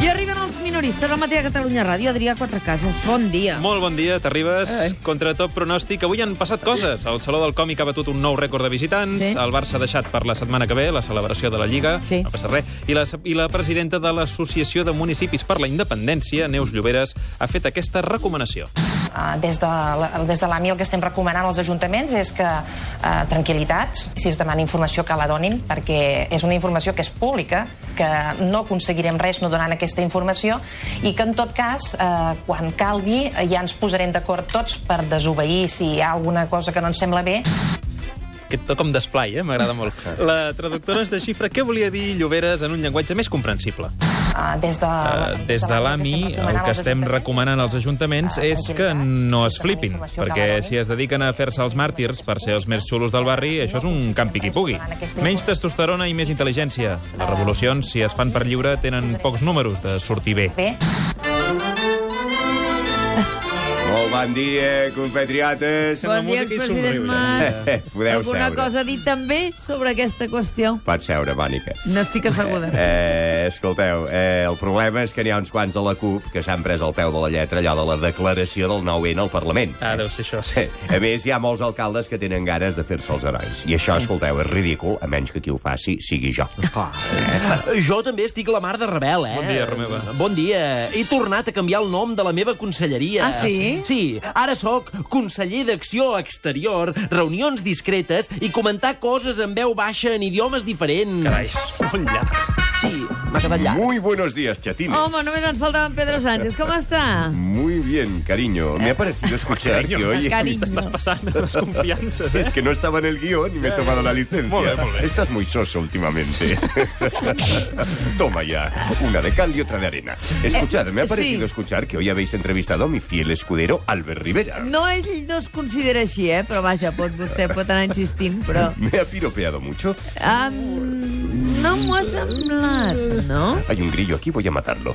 I arriben els minoristes al matí a Catalunya Ràdio. Adrià Quatrecases, bon dia. Molt bon dia, t'arribes. Eh. Contra tot pronòstic, avui han passat coses. El Saló del Còmic ha batut un nou rècord de visitants, Sí. el Barça ha deixat per la setmana que ve la celebració de la Lliga, Sí. no passa res, i la, i la presidenta de l'Associació de Municipis per la Independència, Neus Lloberes, ha fet aquesta recomanació. Eh, Des de, la- des de l'AMI el que estem recomanant als ajuntaments és que eh, tranquil·litat, si es demana informació que la donin, perquè és una informació que és pública, que no aconseguirem res no donant aquesta informació i que en tot cas, eh, quan calgui, eh, ja ens posarem d'acord tots per desobeir si hi ha alguna cosa que no ens sembla bé. Aquest to com d'esplai, eh? M'agrada molt. La traductora ens desxifra què volia dir Lloberes en un llenguatge més comprensible. Eh, Des de, Eh, des de l'AMI, el que estem recomanant als Ah, ajuntaments és que no es flipin, perquè si es dediquen a fer-se els màrtirs per ser els més xulos del barri, això és un campi qui pugui. Menys testosterona i més intel·ligència. Les revolucions, si es fan per lliure, tenen pocs números de sortir bé. Bé, Molt bon dia, compatriotes. Sembla música i president somriure. Mas. Eh, Podeu Alguna seure. cosa a dir també sobre aquesta qüestió? Pots seure, Mònica. N'estic asseguda. Eh, escolteu, eh, el problema és que n'hi ha uns quants de la CUP que s'han pres al peu de la lletra allò de la declaració del 9-N al Parlament. Eh, Ah, deu ser això, sí. A més, hi ha molts alcaldes que tenen ganes de fer-se els herois. I això, escolteu, és ridícul, a menys que qui ho faci sigui jo. eh? Jo també estic la mar de rebel, eh? Bon dia, Romeva. Bon dia. He tornat a canviar el nom de la meva conselleria. Ah, sí? Sí, ara sóc conseller d'Acció Exterior, reunions discretes i comentar coses en veu baixa en idiomes diferents. Carai, és molt llarg. Sí, m'ha quedat llarg. Muy buenos días, chatines. Home, només ens faltava en Pedro Sánchez. Com està? Muy bien, cariño. Me ha parecido escuchar que hoy... Eh, Cariño. T'estàs passant de les confiances, eh? Es que no estaba en el guión y me he tomado la licencia. Molt bé, molt bé. Estás muy soso últimamente. Toma ya, una de cal y otra de arena. Escuchad, me ha sí. parecido escuchar que hoy habéis entrevistado a mi fiel escudero, Albert Rivera. No, ell no es considera així, eh? Però vaja, pot, vostè pot anar insistint, però... Me ha piropeado mucho. Um, no m'ho ha semblat, no? Hay un grillo aquí, voy a matarlo.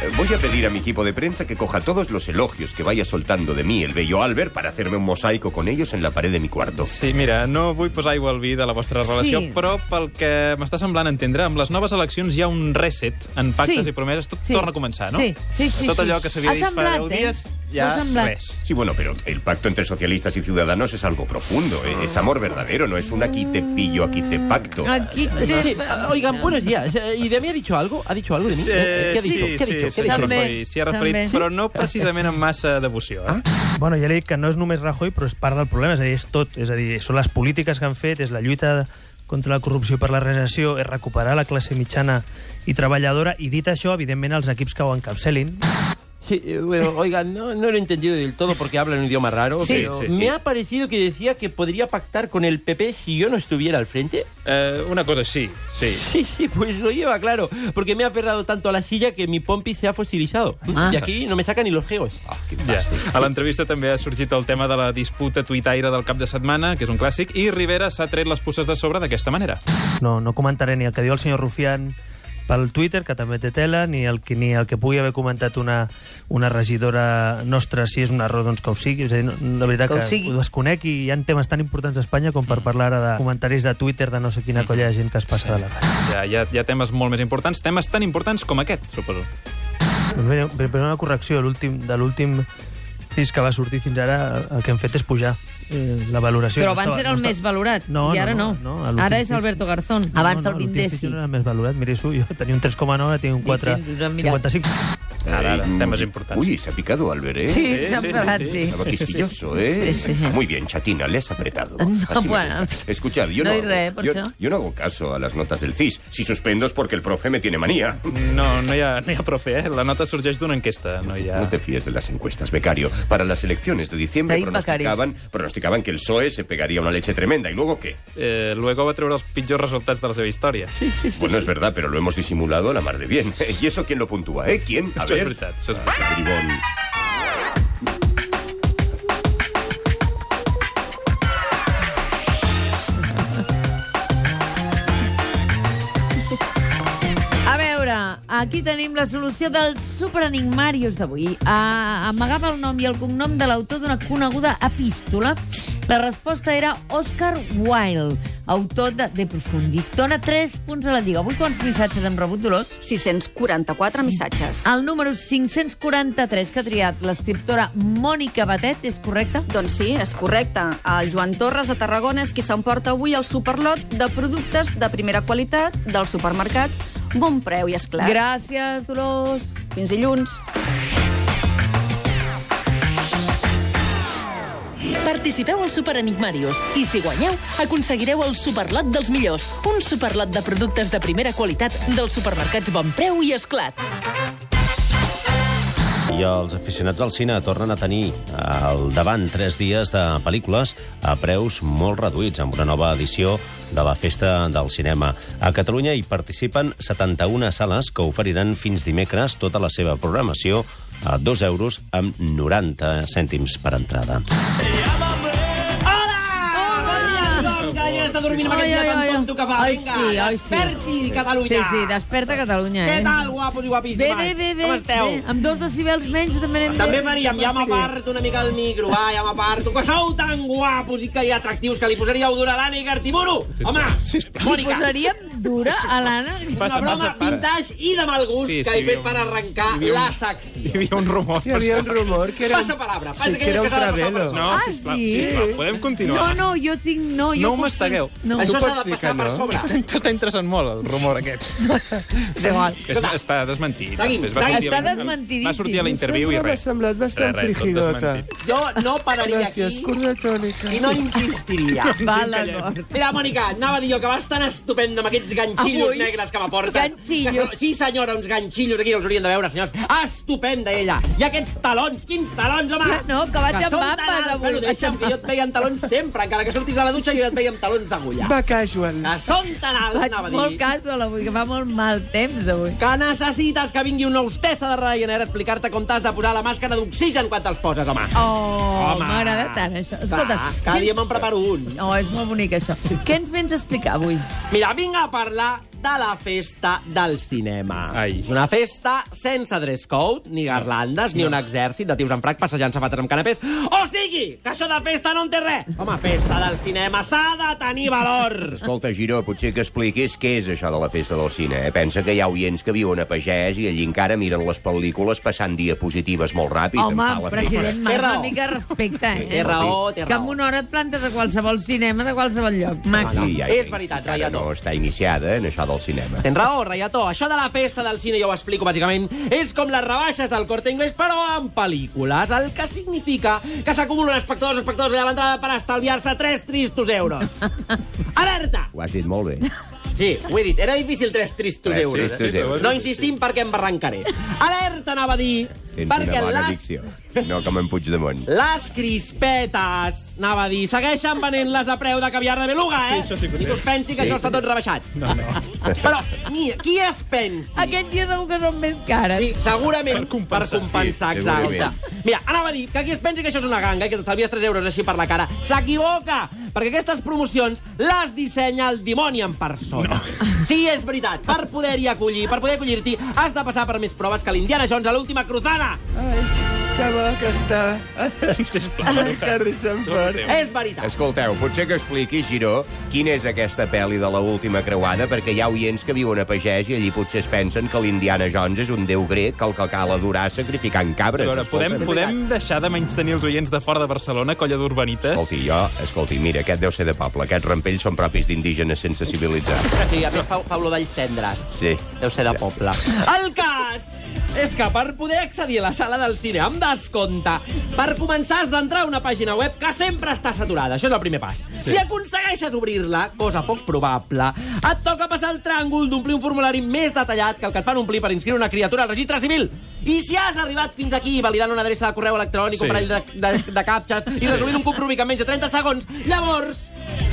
Eh, Voy a pedir a mi equipo de prensa que coja todos los elogios que vaya soltando de mí el bello Albert para hacerme un mosaico con ellos en la pared de mi cuarto. Sí, mira, no vull posar aigua al vi de la vostra Sí. relació, però pel que m'està semblant entendre, amb les noves eleccions hi ha un reset en pactes Sí. i promeses. Tot Sí. torna a començar, no? Sí, sí, sí, Tot sí. allò que s'havia Ha dit fa semblat, 10 eh? dies, Ha ja semblat. res. Sí, bueno, pero el pacto entre socialistas y ciudadanos es algo profundo, ¿eh? es amor verdadero, no es un aquí te pillo, aquí te pacto. Aquí Sí, té... oigan, buenos días. Eh, ¿Y de mí ha dicho algo? ¿Ha dicho algo de mí? Eh, ¿Qué ha dicho? sí, ¿Qué ha sí, dicho? sí, ¿Qué ha s'hi ha dicho? També, referit, s'hi ha referit, també. però no precisament amb massa devoció. Ah. Eh? Bueno, ja li dic que no és només Rajoy, però és part del problema, és a dir, és tot. És a dir, són les polítiques que han fet, és la lluita contra la corrupció per la recessió, és recuperar la classe mitjana i treballadora, i dit això, evidentment, els equips que ho encapcelin. Sí, eh, bueno, oigan, no, no lo he entendido del todo porque hablan un idioma raro, Sí, pero sí. me ha parecido que decía que podría pactar con el PP si yo no estuviera al frente. Eh, una cosa així, sí. Sí, sí, pues lo lleva claro, porque me ha aferrado tanto a la silla que mi pompi se ha fosilizado. Ah. Y aquí no me sacan ni los geos. Ja. A l'entrevista també ha sorgit el tema de la disputa tuitaire del cap de setmana, que és un clàssic, i Rivera s'ha tret les puces de sobre d'aquesta manera. No, no comentaré ni el que diu el senyor Rufián pel Twitter, que també té tela, ni el, que- ni el que pugui haver comentat una, una regidora nostra, si és un error, doncs que ho sigui. És a dir, no, la veritat Que ho que, sigui. Mm. ho desconec i hi ha temes tan importants a Espanya com per parlar ara de comentaris de Twitter de no sé quina colla de gent que es passa de la ratxa. Ja, hi ha, hi ha temes molt més importants, temes tan importants com aquest, suposo. Doncs mira, primer una correcció. L'últim- De l'últim cis que va sortir fins ara, el que hem fet és pujar eh, la valoració. Però No abans estava- era el no més estava- valorat, No, i ara no. no, no, a l'últim Ara és cis- Alberto Garzón. Abans no, del no, l'últim cis 20 sí. No era el més valorat, mira, això, jo tenia un 3,9, tenia un 4, Sí, sí, ens ho hem mirat. 55. Ara, ara, Mm. temes importants. Uy, se ha picado Albert, ¿eh? Sí, Sí, s'ha sí, sí, parat, sí. sí. Estaba quisquilloso, ¿eh? Sí, sí. Muy bien, chatina, le has apretado. No, Así me bueno. gusta. Escuchad, yo No no, hay hago, re, por yo, eso. yo no hago caso a las notas del CIS. Si suspendo es porque el profe me tiene manía. No, no hi ha, no hi ha profe, eh? La nota sorgeix d'una enquesta, no hi ha... No te fíes de las encuestas, becario. Para las elecciones de diciembre Ahí, pronosticaban, pronosticaban que el PSOE se pegaría una leche tremenda. ¿Y luego qué? Eh, luego va treure els pitjors resultats de la seva història. Bueno, es verdad, pero lo hemos disimulado a la mar de bien. ¿Y eso quién lo puntúa, eh? ¿Quién? A Això és ver. veritat, això és veritat. Ah, bribón. A veure, aquí tenim la solució dels superenigmàrios d'avui. Ah, amagava el nom i el cognom de l'autor d'una coneguda epístola La resposta era Oscar Wilde, autor de De Profundis. Dona 3 punts a la Lliga. Avui quants missatges hem rebut, Dolors? 644 missatges. Ah, El número 543 que ha triat l'escriptora Mònica Batet és correcte? Doncs sí, és correcte. El Joan Torres a Tarragona és qui s'emporta avui el superlot de productes de primera qualitat dels supermercats, bon preu i esclar. Gràcies, Dolors. Fins dilluns. Participeu al Super Enigmarius i, si guanyeu, aconseguireu el superlot dels millors. Un superlot de productes de primera qualitat dels supermercats Bon Preu i Esclat. I els aficionats al cine tornen a tenir al davant tres dies de pel·lícules a preus molt reduïts amb una nova edició de la Festa del Cinema. A Catalunya hi participen 71 sales que oferiran fins dimecres tota la seva programació a 2 euros amb 90 cèntims per entrada. Està dormint amb aquest llevant tonto que fa. Vinga, sí, desperti, sí. Catalunya. Sí, sí, desperta Catalunya. Eh? Què tal, guapos i Bé, guapíssimes? bé, bé, bé. Com esteu? Bé. Amb dos decibels menys també anem També, bé. Maria, ja m'aparto una mica del micro, va, ja m'aparto. Que sou tan guapos i que hi ha atractius que li posaríeu dura l'Anna i Gartiburu! Home, Li Mònica, posaríem dura a l'Anna? una broma vintage i de mal gust Sí, és que que he hi fet havia per un- arrencar hi havia un- la secció. Hi havia un rumor. Que había un rumor que era... Passa palabra, passa Sí, aquelles era que un s'ha de passar per travelo. No, Ah, sisplau, sí? sisplau, podem No, continuar. no, jo tinc... No, jo No ho puc- mastegueu. No. Això Tu s'ha pots de dir passar que per no? sobre. T'està interessant molt, el rumor aquest. És igual. És, està desmentit. Seguim, Després va seguim. sortir a la- Està desmentiditíssim. Va sortir a la interviu i Sempre m'ha res. semblat bastant Res, res, tot frigidota. desmentit. Jo no pararia Gràcies, aquí curra tònica. i no insistiria. Va, d'acord. Mira, Mònica, anava a dir jo que vas tan estupenda amb aquests ganxillos Avui? Avui? negres que m'aportes. Ganxillos. Que són- Sí, senyora, uns ganxillos aquí els haurien de veure, senyors. Estupenda, ella. I aquests talons, quins talons, home! Ja no, que vaig amb són tan vapes, alts. avui. Bueno, deixa'm, que jo et veia amb talons sempre. Encara que sortís a la dutxa, jo et veia amb talons d'agulla. Va casual. Que són tan alts, Vaig anava a molt dir. casual avui, que fa molt mal temps avui. Que necessites que vingui una hostessa de Ryanair a explicar-te com t'has de posar la màscara d'oxigen quan te'ls poses, home. Oh, Home. m'agrada tant, això. Va, Escolta, cada dia me'n preparo un. No, Oh, és molt bonic, això. Què ens vens a explicar avui? Mira, vinc a parlar de la festa del cinema. Ai. Una festa sense dress code, ni garlandes, ni un exèrcit de tios en frac passejant sabates amb canapés. O sigui, que això de festa no en té res. Home, festa del cinema s'ha de tenir valor. Escolta, Giró, potser que expliquis què és això de la festa del cine. Eh? Pensa que hi ha oients que viuen a pagès i allí encara miren les pel·lícules passant diapositives molt ràpid. em Home, fa la president Té Mas, raó. una mica de respecte, eh? Té raó, té Que en raó. una hora et plantes a qualsevol cinema de qualsevol lloc. fibra. Màxim. Ah, no. hi ha És gent veritat, que encara Raiato. No està iniciada en això del cinema. Tens raó, Raiató. Això de la festa del cine, jo ho explico bàsicament, és com les rebaixes del corte inglès, però en pel·lícules. El que significa que s'acumulen espectadors, espectadors allà a l'entrada per estalviar-se 3 tristos euros. Alerta! Ho has dit molt bé. Sí, ho he dit. Era difícil tres tristos Tres euros. eh? tristos euros. No insistim perquè em barrancaré. Alerta, anava a dir, Tens perquè una bona les, dicció. No com en Puigdemont. les crispetes, anava a dir, segueixen venent-les a preu de caviar de beluga, eh? Sí, això sí que ho Ningú es pensi que això està tot rebaixat. No, no. Però, mi, qui es pensa? Aquests dies segur que són més cares. Sí, segurament Per compensar. per compensar Sí, segurament. exacte. Mira, anava a dir que aquí es pensi que això és una ganga i que t'estalvies 3 euros així per la cara. S'equivoca, perquè aquestes promocions les dissenya el dimoni en persona. No. Sí, és veritat. Per poder-hi acollir, per poder acollir-t'hi, has de passar per més proves que l'Indiana Jones a l'última cruzada. Ai, que bo que està. Sisplau, El Harrison Ford. És veritat. Escolteu, potser que expliquis, Giró, quina és aquesta pel·li de l'última creuada, perquè hi ha oients que viuen a pagès i allí potser es pensen que l'Indiana Jones és un déu grec que el que cal adorar sacrificant A cabres. veure, podem, Escolta, podem deixar de menys tenir els oients de fora de Barcelona, colla d'urbanites? Escolti, jo, escolti, mira, aquest deu ser de poble. Aquests rampells són propis d'indígenes sense civilitzar. Sí, a més fa, fa olor d'alls tendres. Sí. Deu ser de poble. El cas és que per poder accedir a la sala del cine amb descompte, per començar has d'entrar a una pàgina web que sempre està saturada. Això és el primer pas. Sí. Si aconsegueixes obrir-la, cosa poc probable, et toca passar el tràngol d'omplir un formulari més detallat que el que et fan omplir per inscriure una criatura al registre civil. I si has arribat fins aquí validant una adreça de correu electrònic, sí. Sí. un parell de, de, de captxes i resolint un compromís en menys de 30 segons, llavors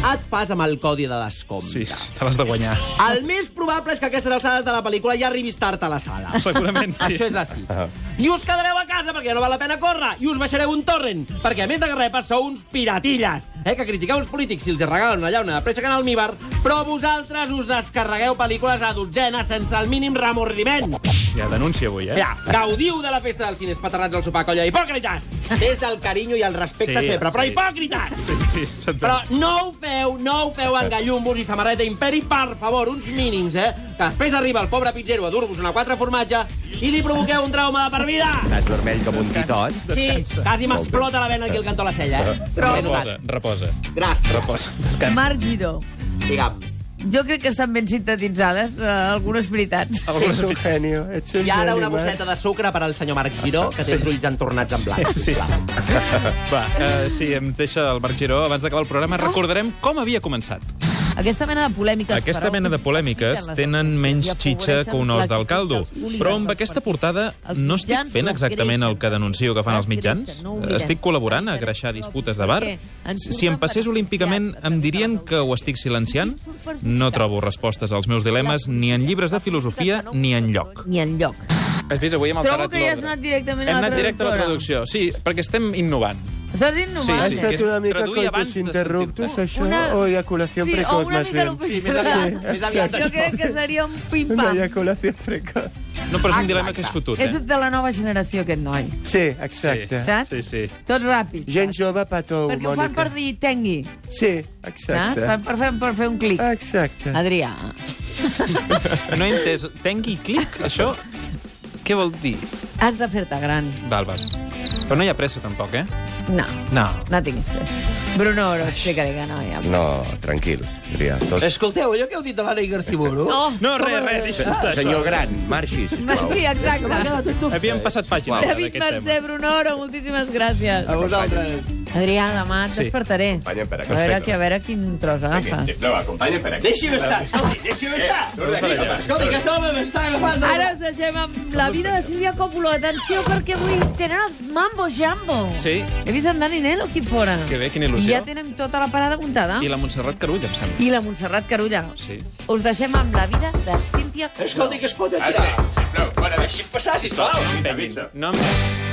et fas amb el codi de descompte. Sí, te l'has de guanyar. El més probable és que a aquestes alçades de la pel·lícula ja arribis tard a la sala. Segurament sí. Ah. Això és així. I us quedareu a casa perquè ja no val la pena córrer i us baixareu un torrent, perquè a més de que repa sou uns piratilles, eh, que critiqueu els polítics si els hi regalen una llauna de pressa que en almíbar, però vosaltres us descarregueu pel·lícules a dotzena sense el mínim remordiment. Ja denúncia avui, eh? Ja, gaudiu de la festa dels cines paterrats al sopar, colla, hipòcrites! Des del carinyo i el respecte Sí, sempre, però sí. hipòcrites! Sí, sí, se't Però veu. no ho feu, no ho feu en gallumbos i samarreta imperi, per favor, uns mínims, eh? Que després arriba el pobre pizzero a dur-vos una quatre formatge i li provoqueu un trauma de per vida! Estàs vermell com un titot. Sí, quasi m'explota la vena aquí al cantó de la cella, eh? Però he Reposa, notat. reposa. Gràcies. Reposa. Descansa. Marc Giró. Digue'm. Jo crec que estan ben sintetitzades eh, algunes veritats. Ets un genio, ets un I ara una genio, Marc. bosseta de sucre per al senyor Marc Giró, que té els ulls entornats en blanc. Sí, sí. Va, uh, sí, em deixa el Marc Giró. Abans d'acabar el programa recordarem com havia començat. Aquesta mena de polèmiques... Aquesta mena de polèmiques tenen menys xitxa que un os del caldo. Però amb aquesta portada no estic fent exactament el que denuncio que fan els mitjans. Estic col·laborant a greixar disputes de bar. Si em passés olímpicament, em dirien que ho estic silenciant? No trobo respostes als meus dilemes ni en llibres de filosofia ni en lloc. Ni en lloc. Has vist, avui hem Trobo que ja has anat directament Hem a la anat directe a la traductora. traducció, sí, perquè estem innovant. Estàs Ha innovant, Sí, sí, eh? estat que és una mica traduir abans coitus de interruptus, sentir-te. això, Una- o eyaculació Sí, o precoç, una més mica bé. el que Sí, més aviat, Sí, més aviat. Jo crec que seria un Una pim-pam. eyaculació precoç. No, però és un dilema que és fotut, Ah, És eh? de la nova generació, aquest noi. Sí, exacte. Saps? Sí, sí. Tot ràpid. Gent jove, petó, Perquè ho Mònica. fan per dir tengui, Sí, saps? exacte. Fan per fer, per fer un clic. Exacte. Adrià, No he entès. Tengui clic, això... Què vol dir? has de fer-te gran. Val, val. Però no hi ha pressa, tampoc, eh? No, No. no tinguis pressa. Bruno Oro, explicaré que no hi ha pressa. No, tranquil, Adrià. Tot... Escolteu, allò que heu dit de l'Anna Igartiburu... No. No, res, res, deixa estar, això. Senyor Gran, marxi, sisplau. Oh. Sí, exacte. Havíem passat pàgina Sisplau. d'aquest David Mercè, Bruno Oro, moltíssimes gràcies. A vosaltres. Adrià, demà et Sí. despertaré. Tema. Acompanya per A veure, que, a veure quin tros agafes. No, acompanya per aquí. Deixi'm estar, escolti, deixi'm Eh, estar. Escolti, que tot m'està agafant... de- Ara us deixem amb la vida de Sílvia Coppola. Atenció, perquè avui tenen els Mambo Jambo. Sí. He vist en Dani Nel aquí fora. Que bé, quina il·lusió. I ja tenen tota la parada muntada. I la Montserrat Carull, em sembla. I la Montserrat Carulla. Sí. Us deixem amb la vida de Sílvia Coppola. Ah, Escolti, que es pot atirar. No, bueno, deixi'm passar, sisplau. Vinga, vinga. No, em-